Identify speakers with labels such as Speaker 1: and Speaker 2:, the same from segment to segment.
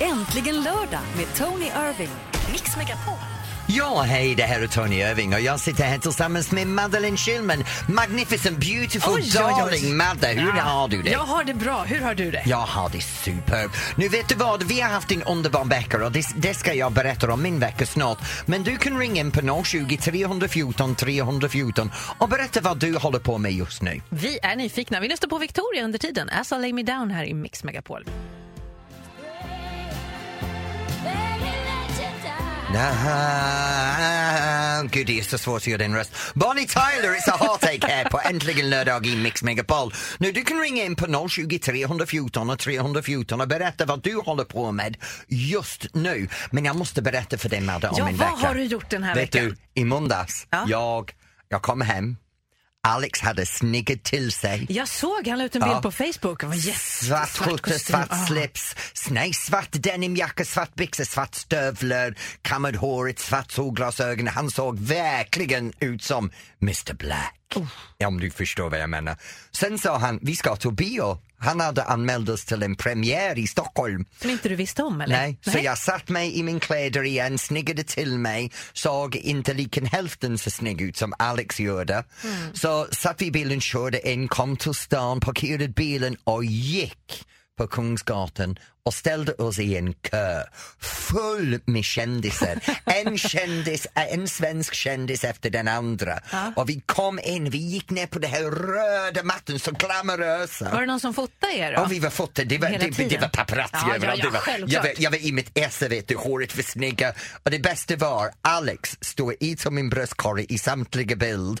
Speaker 1: Äntligen lördag med Tony Irving. Mix Megapol.
Speaker 2: Ja, hej, det här är Tony Irving och jag sitter här tillsammans med Madeleine Schillman. Magnificent, beautiful,
Speaker 3: Oj, oj, oj.
Speaker 2: darling Madde. Hur
Speaker 3: Ja.
Speaker 2: har du det?
Speaker 3: Jag har det bra. Hur har du det?
Speaker 2: Jag har det superb. Nu vet du vad, vi har haft en underbar vecka och det, det ska jag berätta om min vecka snart. Men du kan ringa in på 020 314 314 och berätta vad du håller på med just nu.
Speaker 3: Vi är nyfikna. Vi lyssnar på Victoria under tiden. As I lay me down här i Mix Megapol.
Speaker 2: Ah, gud, det är så svårt att göra den röst. Bonnie Tyler, it's a heartache här på Äntligen lördag i Mix Megapol. Nu, du kan ringa in på 020 314 och 314 och berätta vad du håller på med just nu. Men jag måste berätta för dig Madde om
Speaker 3: Ja,
Speaker 2: min
Speaker 3: vad
Speaker 2: vecka.
Speaker 3: har du gjort den här
Speaker 2: Vet
Speaker 3: veckan?
Speaker 2: du, i måndags,
Speaker 3: Ja.
Speaker 2: jag, jag kom hem, Alex hade sniggat till sig.
Speaker 3: Jag såg han la ut en bild på Facebook. Oh, yes.
Speaker 2: Svart skjorta,
Speaker 3: kostym.
Speaker 2: svart
Speaker 3: Ah.
Speaker 2: slips, s- nej, svart denimjacka, svart byxor, svart stövlar, kammad håret, svart solglasögon. Han såg verkligen ut som Mr Black.
Speaker 3: Oh.
Speaker 2: Ja, Om du förstår vad jag menar. Sen sa han, vi ska till bio. Han hade anmält oss till en premiär i Stockholm.
Speaker 3: Som inte du visste om eller?
Speaker 2: Nej, så jag satt mig i min kläder igen, sniggade till mig, såg inte liken hälften så snygg ut som Alex gjorde. Så satt vi i bilen, körde in, kom till stan, parkerade bilen och gick på Kungsgatan och ställde oss i en kö full med kändisar. En kändis, en svensk kändis efter den andra. Och vi kom in, vi gick ner på den här röda mattan, så glamorösa.
Speaker 3: Var det någon som fotade er då?
Speaker 2: Ja, vi var fotade. Det var,
Speaker 3: Hela
Speaker 2: det, det
Speaker 3: tiden.
Speaker 2: var paparazzi
Speaker 3: Ja, ja,
Speaker 2: överallt.
Speaker 3: ja,
Speaker 2: det var,
Speaker 3: självklart.
Speaker 2: jag, var, jag var i mitt esse, vet du, håret var snygga. Och det bästa var, Alex stod i som min bröstkorg i samtliga bild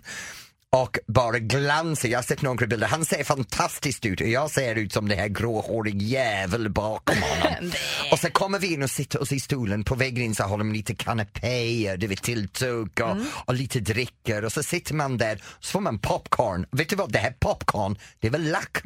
Speaker 2: och bara glansar. Jag har sett några bilder. Han ser fantastiskt ut och jag ser ut som den här gråhårig jävel bakom honom. och så kommer vi in och sitter oss i stolen. På vägen in så har de lite kanapéer, det vet tilltugg
Speaker 3: Mm.
Speaker 2: och, och lite dricker. Och så sitter man där så får man popcorn. Vet du vad, det här popcorn, det var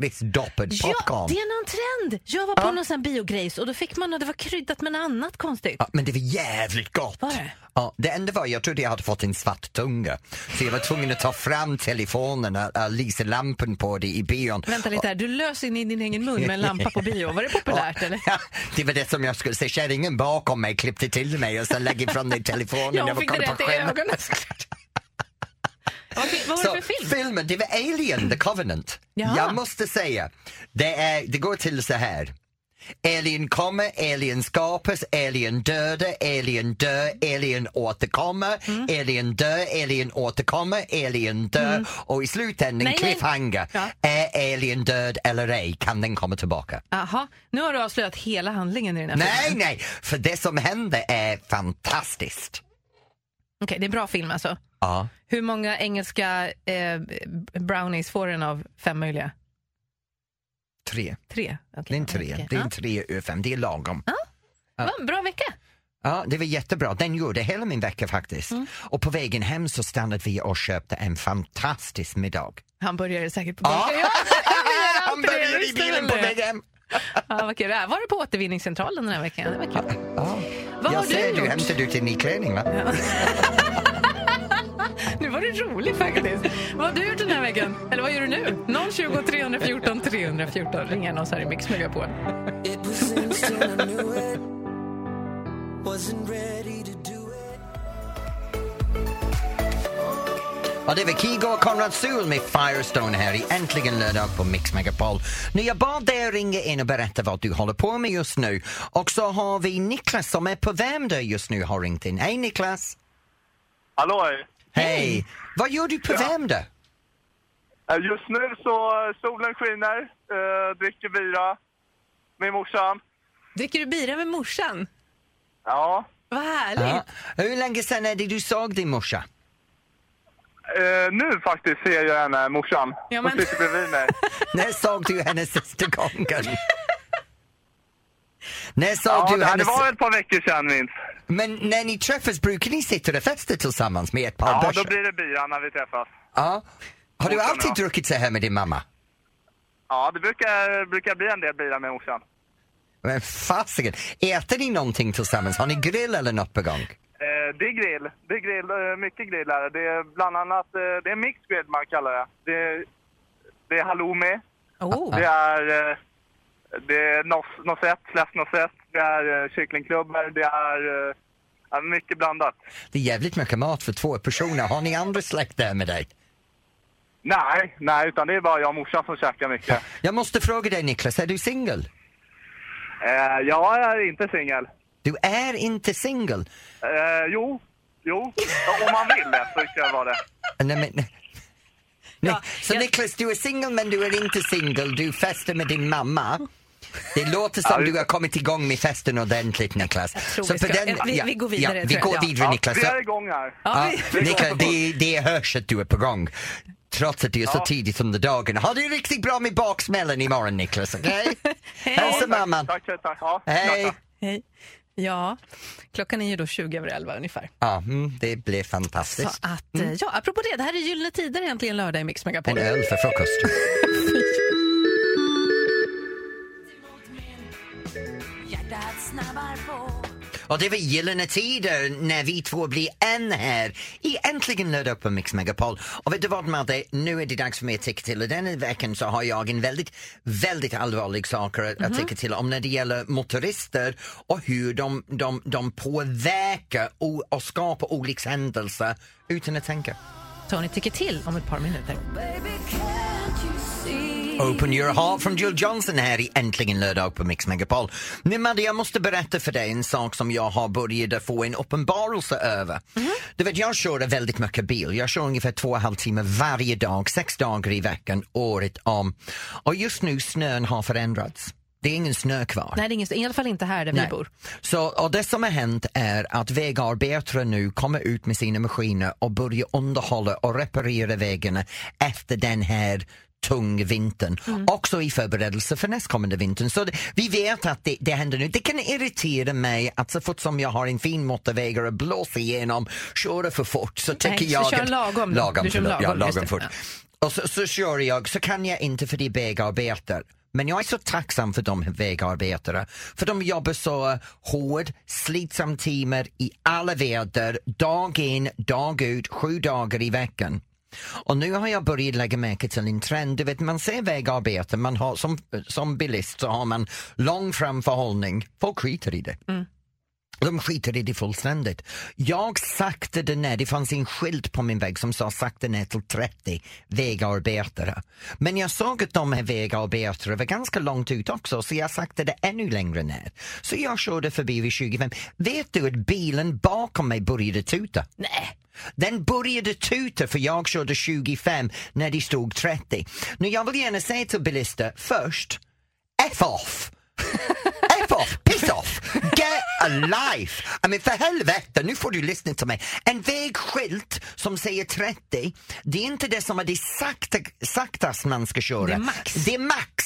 Speaker 2: lakritsdoppad
Speaker 3: Ja,
Speaker 2: popcorn.
Speaker 3: det är någon trend! Jag var på någon sån här biogrejs och då fick man, det var kryddat med något annat konstigt.
Speaker 2: Ja, men det var jävligt gott.
Speaker 3: Var det?
Speaker 2: Ja, det enda var, jag trodde jag hade fått en svart tunga. Så jag var tvungen att ta fram telefonen och, och lysa lampan på det i bion.
Speaker 3: Vänta lite här, du lös in i din egen mun med en lampa på bio. Var det populärt eller?
Speaker 2: Ja, det var det som jag skulle säga. Kärringen bakom mig klippte till mig och sen lägger ifrån dig telefonen.
Speaker 3: Ja,
Speaker 2: Jag
Speaker 3: hon
Speaker 2: var
Speaker 3: fick det
Speaker 2: kolla på
Speaker 3: rätt i
Speaker 2: skärmen.
Speaker 3: ögonen såklart. Vad fi- vad var det för
Speaker 2: Så,
Speaker 3: film?
Speaker 2: Filmen, det var Alien, The Covenant.
Speaker 3: Jaha.
Speaker 2: Jag måste säga, det, är, det går till så här. Alien kommer, alien skapas, alien dödar, alien dör, alien återkommer,
Speaker 3: Mm.
Speaker 2: alien dör, alien återkommer, alien dör och i slutändan,
Speaker 3: Nej, nej.
Speaker 2: cliffhanger,
Speaker 3: Ja.
Speaker 2: är alien död eller ej? Kan den komma tillbaka?
Speaker 3: Aha, nu har du avslöjat hela handlingen i den här filmen.
Speaker 2: Nej, nej, för det som händer är fantastiskt.
Speaker 3: Okej, det är en bra film alltså.
Speaker 2: Ja.
Speaker 3: Hur många engelska eh, brownies får den av fem möjliga?
Speaker 2: Tre.
Speaker 3: Tre? Okej,
Speaker 2: Det är en tre.
Speaker 3: okej.
Speaker 2: Det är
Speaker 3: Ja.
Speaker 2: en tre ur fem. Det är lagom.
Speaker 3: Det var en bra vecka.
Speaker 2: Ja, det var jättebra. Den gjorde hela min vecka faktiskt.
Speaker 3: Mm.
Speaker 2: Och på vägen hem så stannade vi och köpte en fantastisk middag.
Speaker 3: Hamburgare säkert på vägen. Ja.
Speaker 2: Han började i
Speaker 3: visste
Speaker 2: bilen
Speaker 3: väl
Speaker 2: på
Speaker 3: det.
Speaker 2: vägen hem.
Speaker 3: ja, vad kul det är. Var du på återvinningscentralen den här veckan? Det var kul.
Speaker 2: Ja.
Speaker 3: Vad har
Speaker 2: Jag
Speaker 3: du
Speaker 2: ser, du
Speaker 3: gjort?
Speaker 2: hämtade ut en ny klänning va?
Speaker 3: Nu var du rolig faktiskt. vad har du gjort den här veckan? Eller vad gör du nu? 020 314 314. Ring gärna oss här i Mix Megapol.
Speaker 4: It was instant, I knew it. Wasn't ready to do it.
Speaker 2: Och det var Kigo och Konrad Sol med Firestone här i Äntligen lördag på Mix Megapol. Nu jag bad dig ringa in och berätta vad du håller på med just nu. Och så har vi Niklas som är på Värmdö just nu har ringt in. Hej Niklas!
Speaker 5: Halloj!
Speaker 2: Hej! Vad gör du på Värmdö?
Speaker 5: Eh, Just nu så eh, solen skiner, eh, dricker bira med morsan.
Speaker 3: Dricker du bira med morsan?
Speaker 5: Ja,
Speaker 3: Vad härligt.
Speaker 2: Ja. Hur länge sedan är det du såg din morsa?
Speaker 5: eh, nu faktiskt ser jag henne, morsan.
Speaker 3: Ja, men-
Speaker 5: Hon sitter bredvid mig.
Speaker 2: När såg du henne sista gången? När såg
Speaker 5: Ja,
Speaker 2: du
Speaker 5: det,
Speaker 2: henne?
Speaker 5: det var ett par veckor sedan minst.
Speaker 2: Men när ni träffas brukar ni sitta och festa tillsammans med ett par
Speaker 5: Ja,
Speaker 2: börsar?
Speaker 5: då blir det bira när vi träffas.
Speaker 2: Ja. Har du
Speaker 5: Morsan och
Speaker 2: alltid
Speaker 5: jag.
Speaker 2: druckit så här med din mamma?
Speaker 5: Ja, det brukar, brukar bli en del bira med morsan.
Speaker 2: Men fasiken, äter ni någonting tillsammans? Har ni grill eller något på gång?
Speaker 5: Eh, det är grill. Det är grill, eh, mycket grill här. Det är bland annat, eh, det är mixed grill man kallar det. Det är, det är halloumi,
Speaker 3: Oh.
Speaker 5: det är, eh, det är nos, nosett, fläsknosett, det är eh, kycklingklubbor, det är eh, ja, mycket blandat.
Speaker 2: Det är jävligt mycket mat för två personer. Har ni andra släkt där med dig?
Speaker 5: Nej, nej, utan det är bara jag och morsan som käkar mycket.
Speaker 2: Jag måste fråga dig Niklas, är du singel?
Speaker 5: Eh, jag är inte singel.
Speaker 2: Du är inte singel.
Speaker 5: Eh, jo, jo, Ja, om man vill det så kan jag vara det.
Speaker 2: Nej, men... Nej.
Speaker 1: Ja,
Speaker 2: så
Speaker 1: jag-
Speaker 2: Niklas, du är singel men du är inte singel. Du festar med din mamma. Det låter som
Speaker 5: Ja, vi-
Speaker 2: du har kommit igång med festen ordentligt Niklas.
Speaker 1: tror vi ska- eh, vi- vi går vidare,
Speaker 2: Ja, vi
Speaker 1: tror jag.
Speaker 2: går
Speaker 1: Ja.
Speaker 2: vidare
Speaker 5: Ja,
Speaker 2: Niklas.
Speaker 5: vi
Speaker 2: Ja,
Speaker 5: är igång här.
Speaker 1: Ja, vi-
Speaker 2: Niklas, det, det hörs att du är på gång. Trots att det är så
Speaker 5: Ja.
Speaker 2: tidigt under dagen. Ha det riktigt bra med baksmällen imorgon Niklas, okej? Hälsa mamman.
Speaker 5: Tack, tack, tack. Ja,
Speaker 2: Hej!
Speaker 3: Hej. Ja, klockan är ju då 20 över 11 ungefär.
Speaker 2: Ja, mm, det blev
Speaker 3: Så
Speaker 2: fantastiskt.
Speaker 3: att, eh, ja, apropå det, det här är Gyllene Tider egentligen lördag i Mix Megapol.
Speaker 2: En öl för frukost. Och det var Gyllene Tider när vi två blir en här i Äntligen lördag på Mix Megapol. Och vet du vad Madde, nu är det dags för mig att tycka till och den här veckan så har jag en väldigt, väldigt allvarlig sak att, att tycka till om när det gäller motorister och hur de, de, de påverkar och, och skapar olyckshändelser utan att tänka.
Speaker 3: Tony tycker till om ett par minuter.
Speaker 2: Open your heart från Jill Johnson här i Äntligen lördag på Mix Megapol. Nu Madde, jag måste berätta för dig en sak som jag har börjat få en uppenbarelse över. Du vet, jag kör väldigt mycket bil. Jag kör ungefär två och en halv timme varje dag, sex dagar i veckan, året om. Och just nu snön har förändrats. Det är ingen snö kvar.
Speaker 3: Nej, det är ingen, i alla fall inte här där vi
Speaker 2: Nej.
Speaker 3: bor.
Speaker 2: Så, och det som har hänt är att vägarbetare nu kommer ut med sina maskiner och börjar underhålla och reparera vägarna efter den här tung vintern.
Speaker 3: Mm.
Speaker 2: Också i förberedelse för nästkommande vintern. Så det, vi vet att det, det händer nu. Det kan irritera mig att så fort som jag har en fin motorväg och blåser igenom, köra för fort så tycker
Speaker 3: Nej, så
Speaker 2: jag...
Speaker 3: kör
Speaker 2: att-
Speaker 3: lagom då.
Speaker 2: Lagom,
Speaker 3: Du kör
Speaker 2: förlåt.
Speaker 3: lagom,
Speaker 2: ja,
Speaker 3: just
Speaker 2: lagom
Speaker 3: det.
Speaker 2: fort.
Speaker 3: Ja.
Speaker 2: Och så, så kör jag, så kan jag inte för det är vägarbetare. Men jag är så tacksam för de här vägarbetare. För de jobbar så hårt, slitsamma timmar i alla väder, dag in, dag ut, sju dagar i veckan. Och nu har jag börjat lägga märke till en trend. Du vet, man ser vägarbeten, man har, som, som bilist så har man lång framförhållning. Folk skiter i det. De skiter i det fullständigt. Jag saktade ner, det fanns en skylt på min väg som sa sakta ner till 30 vägarbetare. Men jag såg att de här vägarbetare var ganska långt ut också så jag saktade ännu längre ner. Så jag körde förbi vid 25. Vet du att bilen bakom mig började tuta?
Speaker 3: Nej.
Speaker 2: Den började tuta för jag körde 25 när det stod 30. Nu jag vill gärna säga till bilister först, F off! F off! Piss off! Get a life! I mean, för helvete, nu får du lyssna till mig. En vägskylt som säger 30, det är inte det som är det sakta, saktast man ska köra.
Speaker 3: Det är max.
Speaker 2: Det är max.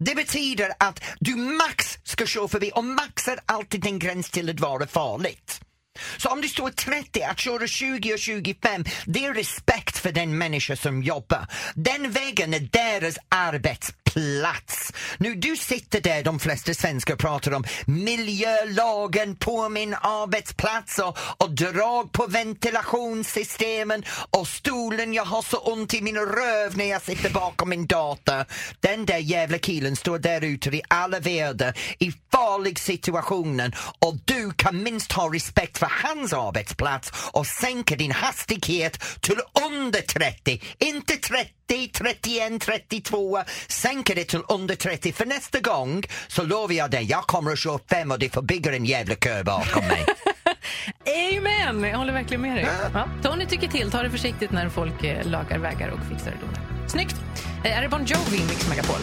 Speaker 2: Det betyder att du max ska köra förbi och max är alltid en gräns till att vara farligt. Så om det står 30, att köra 20 och 25, det är respekt för den människa som jobbar. Den vägen är deras arbetsplats. Nu, du sitter där, de flesta svenskar pratar om miljölagen på min arbetsplats och, och drag på ventilationssystemen och stolen, jag har så ont i min röv när jag sitter bakom min dator. Den där jävla killen står där ute i alla väder i farlig situationen och du kan minst ha respekt för hans arbetsplats och sänka din hastighet till under 30, inte 30, 31, 32, sänka det till under 30 för nästa gång så lovar jag dig, jag kommer att köra fem och det får bygga en jävla kö bakom mig.
Speaker 3: Amen! Jag håller verkligen med dig. Ja. Tony tycker till. Ta det försiktigt när folk eh, lagar vägar och fixar och donar. Snyggt! Eh, Är det Bon Jovi i Mix Megapol?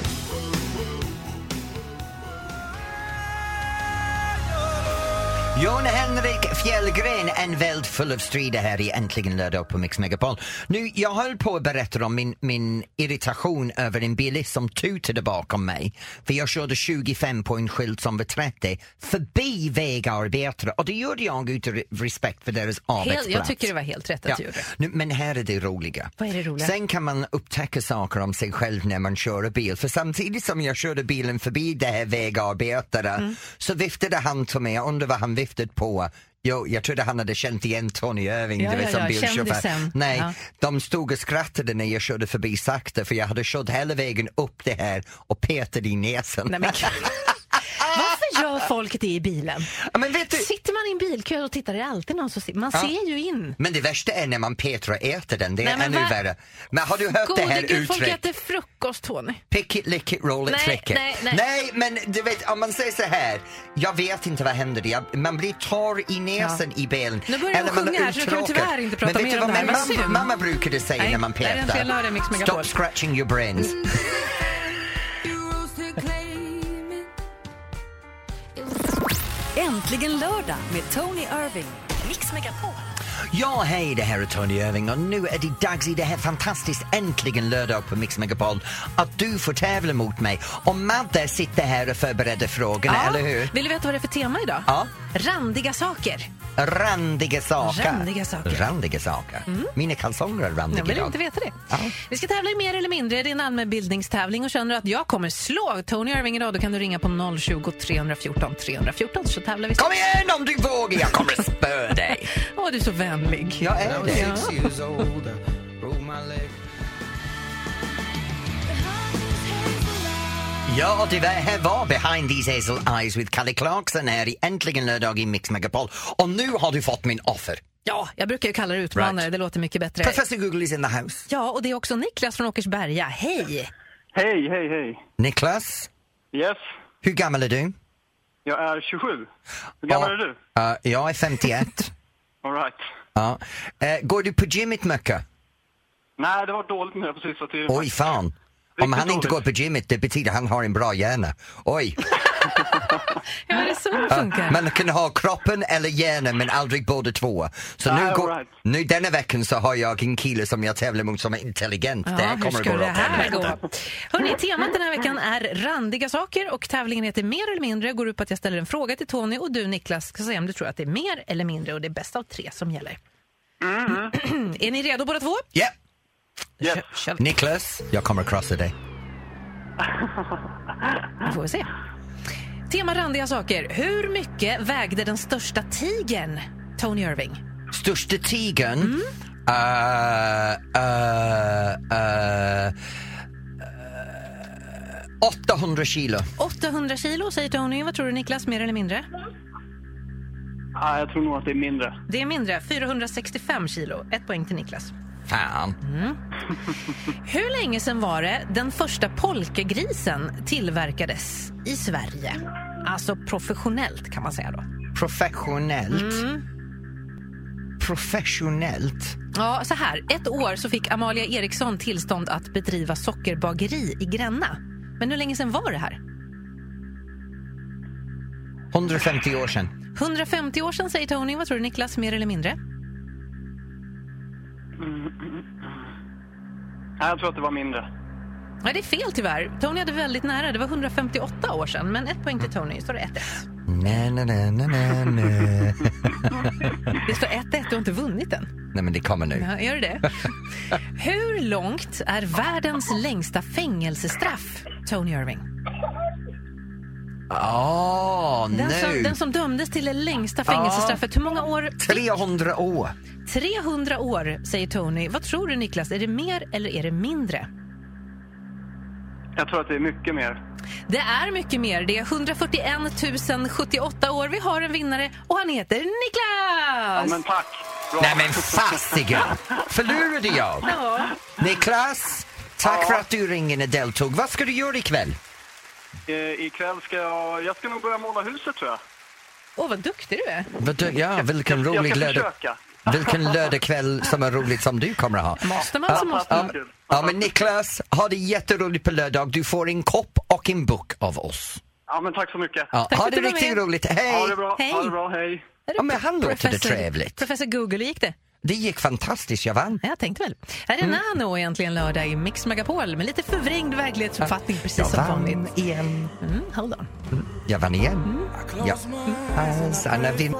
Speaker 2: Jon Henrik Fjällgren, en värld full av strider här i Äntligen lördag på Mix Megapol. Nu, jag höll på att berätta om min, min irritation över en bilist som tutade bakom mig. För jag körde 25 på en skylt som var 30 förbi vägarbetare och det gjorde jag utan respekt för deras arbetsplats.
Speaker 3: Helt, jag tycker det var helt rätt att du
Speaker 2: Ja.
Speaker 3: gjorde.
Speaker 2: Nu, men här är det roliga.
Speaker 3: Vad är det roliga?
Speaker 2: Sen kan man upptäcka saker om sig själv när man kör bil. För samtidigt som jag körde bilen förbi det här vägarbetare
Speaker 3: Mm.
Speaker 2: så viftade han till mig, jag undrar vad han viftade på. Jo, jag trodde han hade känt igen Tony Irving,
Speaker 3: Ja,
Speaker 2: du vet,
Speaker 3: ja,
Speaker 2: som
Speaker 3: ja,
Speaker 2: bilchaufför.
Speaker 3: kändisen.
Speaker 2: Nej,
Speaker 3: Ja.
Speaker 2: de stod och skrattade när jag körde förbi sakta för jag hade kört hela vägen upp det här och petade i näsen.
Speaker 3: Nej, men gud. Varför gör folket är i bilen.
Speaker 2: Ja, men vet du,
Speaker 3: Sitter man i en bilkö och tittar, är det alltid någon som sitter? Man ser ju in.
Speaker 2: Men det värsta är när man petar och äter den, det
Speaker 3: Nej,
Speaker 2: är
Speaker 3: men
Speaker 2: ännu
Speaker 3: va-
Speaker 2: värre. Men har du hört det här
Speaker 3: Gode gud, folk
Speaker 2: uttrycket?
Speaker 3: äter frukost, Tony.
Speaker 2: Pick it, lick it, roll it,
Speaker 3: Nej,
Speaker 2: flick it.
Speaker 3: nej, nej.
Speaker 2: men du vet, om man säger så här, jag vet inte vad händer, jag, man blir torr i näsen i benen.
Speaker 3: Nu börjar de
Speaker 2: eller man blir
Speaker 3: sjunga här, så nu kan vi
Speaker 2: uttråkad.
Speaker 3: tyvärr inte prata
Speaker 2: men vet
Speaker 3: mer
Speaker 2: du
Speaker 3: om
Speaker 2: vad
Speaker 3: det här,
Speaker 2: min
Speaker 3: vad
Speaker 2: mamma,
Speaker 3: synd.
Speaker 2: mamma brukade säga
Speaker 3: Nej,
Speaker 2: när man
Speaker 3: det här är en
Speaker 2: petar.
Speaker 3: fel hörde, Mix Megapol.
Speaker 2: Stop scratching your brains.
Speaker 1: Äntligen lördag med Tony Irving. Mix Megapol.
Speaker 2: Ja, hej, det här är Tony Irving och nu är det dags i det här fantastiskt äntligen lördag på Mix Megapol att du får tävla mot mig och Madde sitter här och förbereder frågorna, eller hur?
Speaker 3: Vill du veta vad det är för tema idag?
Speaker 2: Ja.
Speaker 3: Randiga saker.
Speaker 2: Randiga saker.
Speaker 3: Randiga saker.
Speaker 2: Randiga saker. Mina kalsonger är randiga
Speaker 3: Jag vill
Speaker 2: idag.
Speaker 3: inte veta det.
Speaker 2: Ja.
Speaker 3: Vi ska tävla i mer eller mindre. Det är en allmänbildningstävling och känner du att jag kommer slå Tony Irving idag då kan du ringa på 020 314 314 så tävlar vi.
Speaker 2: Kom igen om du vågar, jag kommer spöa dig.
Speaker 3: Åh, du är så vänlig.
Speaker 2: Jag är det.
Speaker 4: Six years old, I broke my leg.
Speaker 2: Ja, det var, här var Behind These Hazel Eyes with Kalle Clarkson här i Äntligen lördag i Mix Megapol. Och nu har du fått min offer.
Speaker 3: Ja, jag brukar ju kalla det utmanare.
Speaker 2: Right.
Speaker 3: Det låter mycket bättre.
Speaker 2: Professor Google is in the house.
Speaker 3: Ja, och det är också Niklas från Åkersberga. Hej!
Speaker 5: Hej, hej, hej.
Speaker 2: Niklas,
Speaker 5: Yes,
Speaker 2: hur gammal är du?
Speaker 5: jag är 27. Hur gammal
Speaker 2: Ja.
Speaker 5: är du?
Speaker 2: Ja, Eh, jag är 51.
Speaker 5: All right.
Speaker 2: Ja. Eh, går du på gymmet mycket?
Speaker 5: Nej, det var dåligt nu på sista tiden.
Speaker 2: Oj, fan. Om
Speaker 5: Riktigt
Speaker 2: han inte går
Speaker 5: dåligt.
Speaker 2: på gymmet, det betyder han har en bra hjärna. Oj.
Speaker 3: Ja, det är så det funkar.
Speaker 2: Man kan ha kroppen eller hjärnan men aldrig båda två. Så nu,
Speaker 5: Ah,
Speaker 2: går,
Speaker 5: right.
Speaker 2: nu denna veckan så har jag en kille som jag tävlar mot som är intelligent. det här
Speaker 3: Ja, hur
Speaker 2: kommer att gå
Speaker 3: ska det
Speaker 2: åt
Speaker 3: här
Speaker 2: helvete.
Speaker 3: gå? Hörrni, temat den här veckan är randiga saker och tävlingen heter Mer eller mindre går ut på att jag ställer en fråga till Tony och du Niklas ska säga om du tror att det är mer eller mindre och det är bäst av tre som gäller. är ni redo båda två?
Speaker 2: Ja,
Speaker 5: Yes.
Speaker 3: Kör vi.
Speaker 2: Niklas, jag kommer att krossa dig.
Speaker 3: Vi får vi se. Tema randiga saker. Hur mycket vägde den största tigern, Tony Irving?
Speaker 2: Största tigern?
Speaker 3: Mm.
Speaker 2: Eh, eh, eh, eh, 800 kilo.
Speaker 3: 800 kilo säger Tony. Vad tror du Niklas, mer eller mindre?
Speaker 5: Nej, jag tror nog att det är mindre.
Speaker 3: Det är mindre, 465 kilo. Ett poäng till Niklas.
Speaker 2: Fan.
Speaker 3: Hur länge sedan var det den första polkagrisen tillverkades i Sverige? Alltså professionellt kan man säga då.
Speaker 2: Professionellt.
Speaker 3: Mm.
Speaker 2: Professionellt?
Speaker 3: Ja, så här. Ett år så fick Amalia Eriksson tillstånd att bedriva sockerbageri i Gränna. Men hur länge sedan var det här?
Speaker 2: 150 år sedan.
Speaker 3: 150 år sedan säger Tony. Vad tror du Niklas, mer eller mindre?
Speaker 5: Nej, jag tror att det var mindre.
Speaker 3: Nej, det är fel tyvärr. Tony hade väldigt nära. Det var 158 år sedan. Men ett poäng till Tony. Står det 1-1?
Speaker 2: Na, na, na, na, na, na.
Speaker 3: Det står 1-1. Du har inte vunnit än.
Speaker 2: Nej men det kommer nu.
Speaker 3: Ja, gör det Hur långt är världens längsta fängelsestraff, Tony Irving?
Speaker 2: Åh,
Speaker 3: Den, som,
Speaker 2: Ah, nu!
Speaker 3: den som dömdes till det längsta fängelsestraffet, hur många år?
Speaker 2: 300 år!
Speaker 3: 300 år, säger Tony. Vad tror du, Niklas? Är det mer eller är det mindre?
Speaker 5: Jag tror att det är mycket mer.
Speaker 3: Det är mycket mer. Det är 141 078 år. Vi har en vinnare och han heter
Speaker 5: Ja,
Speaker 3: Niklas!
Speaker 5: men tack! Bra.
Speaker 2: Nej men fasiken! Förlorade jag?
Speaker 3: Ja.
Speaker 2: Niklas, tack
Speaker 5: Ja.
Speaker 2: för att du ringde och deltog. Vad ska du göra ikväll?
Speaker 5: Eh, Ikväll ska jag... Jag ska nog börja måla huset, tror jag.
Speaker 3: Åh, vad duktig du är.
Speaker 2: Vad du- Ja, vilken
Speaker 5: Jag
Speaker 2: rolig
Speaker 5: ska
Speaker 2: lördag...
Speaker 5: försöka.
Speaker 2: Vilken lördagkväll som är roligt som du kommer att ha.
Speaker 3: Måste man så måste
Speaker 2: Ja,
Speaker 3: man.
Speaker 5: Kul.
Speaker 2: ja men Niklas, ha det jätteroligt på lördag. Du får en kopp och en bok av oss.
Speaker 5: Ja, men tack så mycket.
Speaker 2: Ja,
Speaker 3: Tack för
Speaker 2: ha
Speaker 3: att
Speaker 2: det
Speaker 3: du var
Speaker 2: riktigt
Speaker 3: med.
Speaker 2: roligt. Hej!
Speaker 5: Ha det bra.
Speaker 3: Hej.
Speaker 5: Ha det bra. Hej.
Speaker 3: Är det
Speaker 2: Ja, men han låter det
Speaker 3: professor-
Speaker 2: trevligt.
Speaker 3: Professor Google, hur gick det?
Speaker 2: Det gick fantastiskt, jag vann.
Speaker 3: Ja, Jag tänkte väl. Här är
Speaker 2: Mm.
Speaker 3: Nano egentligen lördag i Mix Megapol med lite förvrängd verklighetsuppfattning precis
Speaker 2: Jag
Speaker 3: som
Speaker 2: vann
Speaker 3: vanligt.
Speaker 2: igen.
Speaker 3: Mm, hold on.
Speaker 2: Jag vann igen.
Speaker 3: Mm.
Speaker 2: Ja. Alltså, Anna vin-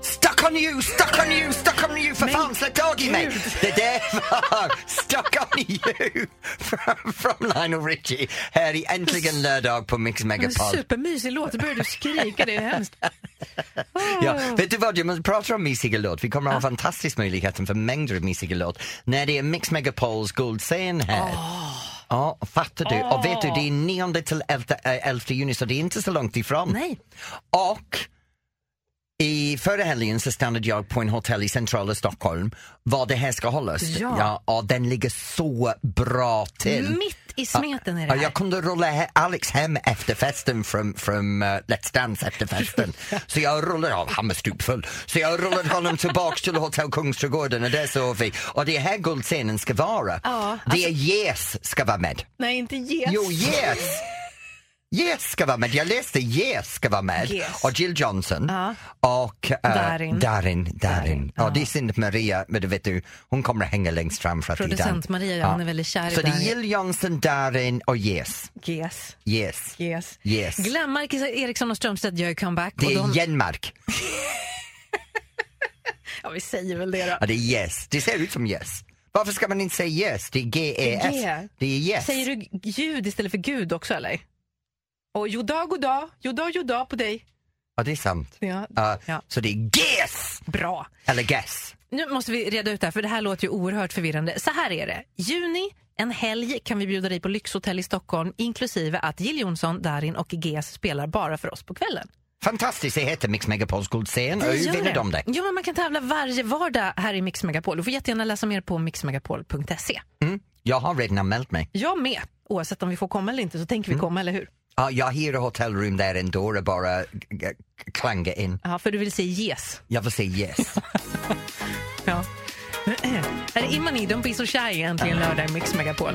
Speaker 2: Stuck on you, stuck on you, stuck on you för fan släpp tag i mig! Det där var Stuck on you från- från Lionel Richie här i Äntligen lördag på Mix
Speaker 3: En
Speaker 2: Megapol.
Speaker 3: supermysig låt. Då började du skrika. Det är hemskt.
Speaker 2: Ja, vet du vad, jag pratar om mysiga låt. Vi kommer att ha fantastisk möjlighet för mängder av mysiga låt när det är Mix Megapols guldscen här. Ja, fattar du?
Speaker 3: Ah.
Speaker 2: Och vet du, det är 9 till 11, äh, 11 juni så det är inte så långt ifrån.
Speaker 3: Nej.
Speaker 2: Och i förra helgen så stannade jag på en hotell i centrala Stockholm var det här ska hållas.
Speaker 3: Ja.
Speaker 2: och den ligger så bra till.
Speaker 3: Mitt i smeten är det
Speaker 2: Ja,
Speaker 3: här.
Speaker 2: jag kunde rulla he- Alex hem efter festen från, från eh, Let's Dance efter festen. så jag rullade, av han var stupfull, så jag rullade honom tillbaks till Hotell Kungsträdgården och där sov vi. Och det är här guldscenen ska vara.
Speaker 3: Ja, alltså-
Speaker 2: Det är Yes ska vara med.
Speaker 3: Nej, inte yes.
Speaker 2: Jo, Yes! Yes ska vara med. Jag läste Yes ska vara med.
Speaker 3: Yes.
Speaker 2: Och Jill Johnson
Speaker 3: Ja.
Speaker 2: och eh,
Speaker 3: Darin.
Speaker 2: Darin. Darin. Ja, det är synd att Maria, men du vet du, hon kommer att hänga längst fram för att det är Dan.
Speaker 3: Producent Maria, hon är väldigt kär i
Speaker 2: Så det är
Speaker 3: Darin.
Speaker 2: Jill Johnson, Darin och Yes.
Speaker 3: Yes.
Speaker 2: Yes.
Speaker 3: Yes.
Speaker 2: Yes.
Speaker 3: Glenmark, Eriksson och Strömstedt gör ju comeback.
Speaker 2: Det
Speaker 3: och de,
Speaker 2: är Genmark.
Speaker 3: ja, vi säger väl det då.
Speaker 2: Ja, det är yes. Det ser ut som yes. Varför ska man inte säga yes? Det är G-E-S.
Speaker 3: G. E
Speaker 2: Det är yes.
Speaker 3: Säger du g- ljud istället för Gud också eller? Och joda, goda, joda, joda på dig.
Speaker 2: Ja, det är sant.
Speaker 3: Ja.
Speaker 2: Ja,
Speaker 3: Ja.
Speaker 2: Så det är GES!
Speaker 3: Bra.
Speaker 2: Eller guess.
Speaker 3: Nu måste vi reda ut det här, för det här låter ju oerhört förvirrande. Så här är det. Juni, en helg, kan vi bjuda dig på lyxhotell i Stockholm inklusive att Jill Johnson, Darin och GS spelar bara för oss på kvällen.
Speaker 2: Fantastiskt, det heter Mix Megapols guldscen. Och hur
Speaker 3: gör
Speaker 2: vinner de det?
Speaker 3: Jo, men man kan tävla varje vardag här i Mix Megapol. Du får jättegärna läsa mer på mixmegapol.se.
Speaker 2: Jag har redan anmält mig.
Speaker 3: Jag med. Oavsett om vi får komma eller inte så tänker vi komma, eller hur?
Speaker 2: Ja, jag hyr ett hotellrum där ändå och bara g- g- klanga in.
Speaker 3: Ja, för du vill säga yes.
Speaker 2: Jag vill säga yes.
Speaker 3: Ja. är det Imani, Don't Be So Shy egentligen lördag i Mix Megapol?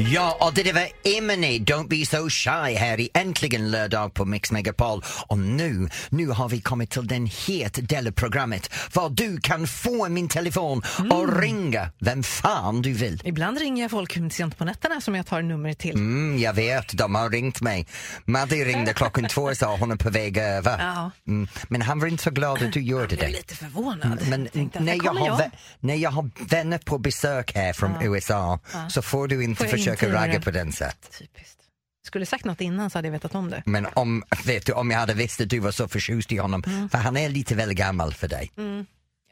Speaker 2: Ja, och det där var Emily, Don't Be So Shy här i Äntligen lördag på Mix Megapol. Och nu, nu har vi kommit till den het delen programmet. Var du kan få min telefon och ringa vem fan du vill.
Speaker 3: Ibland ringer jag folk sent på nätterna som jag tar nummer till.
Speaker 2: Mm, jag vet, de har ringt mig. Madde ringde klockan två och sa hon är på väg över.
Speaker 3: Ja.
Speaker 2: Mm, men han var inte så glad att du gjorde
Speaker 3: Jag är
Speaker 2: det. Mm,
Speaker 3: lite förvånad.
Speaker 2: Men
Speaker 3: Tänkte att
Speaker 2: när
Speaker 3: här
Speaker 2: jag,
Speaker 3: kommer
Speaker 2: har, vä- när jag har vänner på besök här från USA så får du inte
Speaker 3: Får jag
Speaker 2: försöka
Speaker 3: intyga
Speaker 2: ragga
Speaker 3: det?
Speaker 2: på den sätt.
Speaker 3: Typiskt. Skulle sagt något innan så hade jag vetat om det.
Speaker 2: Men om, vet du, om jag hade visst att du var så förtjust i honom,
Speaker 3: Mm.
Speaker 2: för han är lite väl gammal för dig.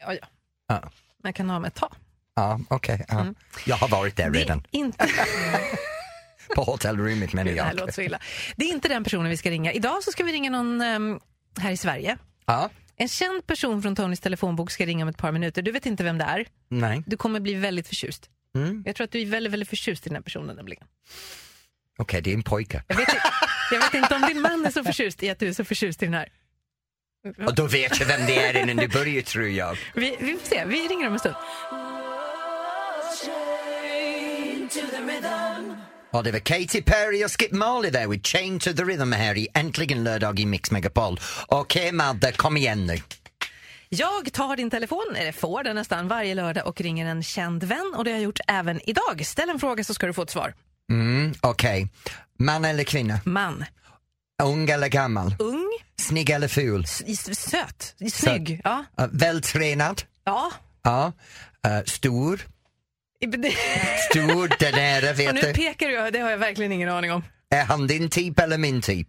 Speaker 3: Ja, ja.
Speaker 2: Ja,
Speaker 3: Men jag kan ha med ett tag.
Speaker 2: ja okej. ja. Jag har varit där
Speaker 3: Mm. Det är
Speaker 2: redan.
Speaker 3: Inte,
Speaker 2: På hotellrummet menar
Speaker 3: det här
Speaker 2: jag.
Speaker 3: låter så illa. Det är inte den personen vi ska ringa. Idag så ska vi ringa någon ehm, här i Sverige.
Speaker 2: Ja,
Speaker 3: En känd person från Tonys telefonbok ska ringa om ett par minuter. Du vet inte vem det är.
Speaker 2: nej,
Speaker 3: Du kommer bli väldigt förtjust.
Speaker 2: Mm.
Speaker 3: Jag tror att du är väldigt, väldigt förtjust i den här personen nämligen.
Speaker 2: okej det är en pojke.
Speaker 3: Jag vet, i- jag vet inte om din man är så förtjust i att du är så förtjust i den här.
Speaker 2: Och då vet jag vem det är innan du börjar tror jag.
Speaker 3: Vi, vi får se, vi ringer om en stund.
Speaker 2: Och det var Katy Perry och Skip Marley där with Chain to the Rhythm här i Äntligen lördag i Mix Megapol. Okej Madde, kom igen nu.
Speaker 3: Jag tar din telefon, eller får den nästan, varje lördag och ringer en känd vän och det har jag gjort även idag. Ställ en fråga så ska du få ett svar.
Speaker 2: Mm, okej. Man eller kvinna?
Speaker 3: Man,
Speaker 2: Ung eller gammal?
Speaker 3: ung,
Speaker 2: Snygg eller ful?
Speaker 3: s- s- söt, snygg. Ja.
Speaker 2: Uh, vältränad?
Speaker 3: ja.
Speaker 2: Ja. Eh, stor?
Speaker 3: I- det-
Speaker 2: Stor, den är,
Speaker 3: Och
Speaker 2: vet
Speaker 3: nu
Speaker 2: du.
Speaker 3: pekar du, det har jag verkligen ingen aning om.
Speaker 2: Är han din typ eller min typ?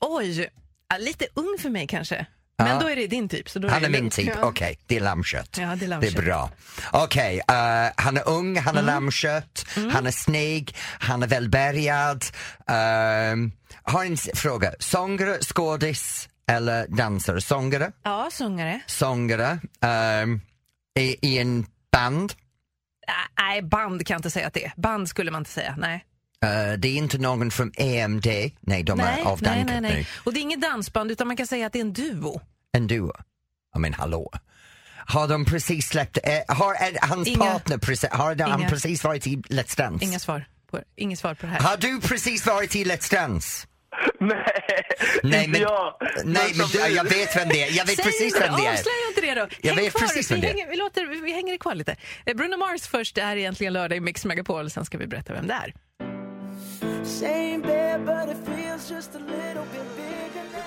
Speaker 3: Oj, ja, lite ung för mig kanske. Men
Speaker 2: Ja.
Speaker 3: då är det din typ. Så då
Speaker 2: Han
Speaker 3: det
Speaker 2: är min
Speaker 3: lugnt.
Speaker 2: typ, okej.
Speaker 3: Ja.
Speaker 2: Det är lammkött.
Speaker 3: Ja, det är
Speaker 2: Det är
Speaker 3: lammkött. Mm.
Speaker 2: bra. Okej, eh, han är ung, han är lammkött, han är snygg, han är välbärgad. ehm, har en s- fråga. Sångare, skådis eller dansare? Sångare,
Speaker 3: Ja, sångare.
Speaker 2: sångare, ehm, i, i en band.
Speaker 3: Ä- Äh, Nej, band kan jag inte säga att det är. Band skulle man inte säga, nej.
Speaker 2: Eh, det är inte någon från EMD. Nej, de
Speaker 3: nej,
Speaker 2: är avdankade nu.
Speaker 3: Och det är inget dansband utan man kan säga att det är en duo.
Speaker 2: En duo? Ja men hallå. Har de precis släppt, eh, har eh, hans
Speaker 3: Inga.
Speaker 2: partner precis, har de- han
Speaker 3: Inga.
Speaker 2: precis varit i Let's Dance?
Speaker 3: Inga svar på, inget svar på det här.
Speaker 2: Har du precis varit i Let's Dance?
Speaker 5: Nej, inte jag.
Speaker 3: Eh,
Speaker 2: nej men
Speaker 5: som
Speaker 2: du, jag
Speaker 5: du.
Speaker 2: vet vem det är, jag vet
Speaker 3: Säg
Speaker 2: precis
Speaker 3: inte-
Speaker 2: vem det är.
Speaker 3: Avslöja inte det då.
Speaker 2: Jag
Speaker 3: Häng
Speaker 2: vet
Speaker 3: kvar,
Speaker 2: precis
Speaker 3: vi,
Speaker 2: vem det är.
Speaker 3: hänger, vi, låter, vi, vi hänger kvar lite. Eh, Bruno Mars först, det här är egentligen lördag i Mix Megapol, sen ska vi berätta vem det är.
Speaker 4: Same bed, but it feels just a little bit bigger now.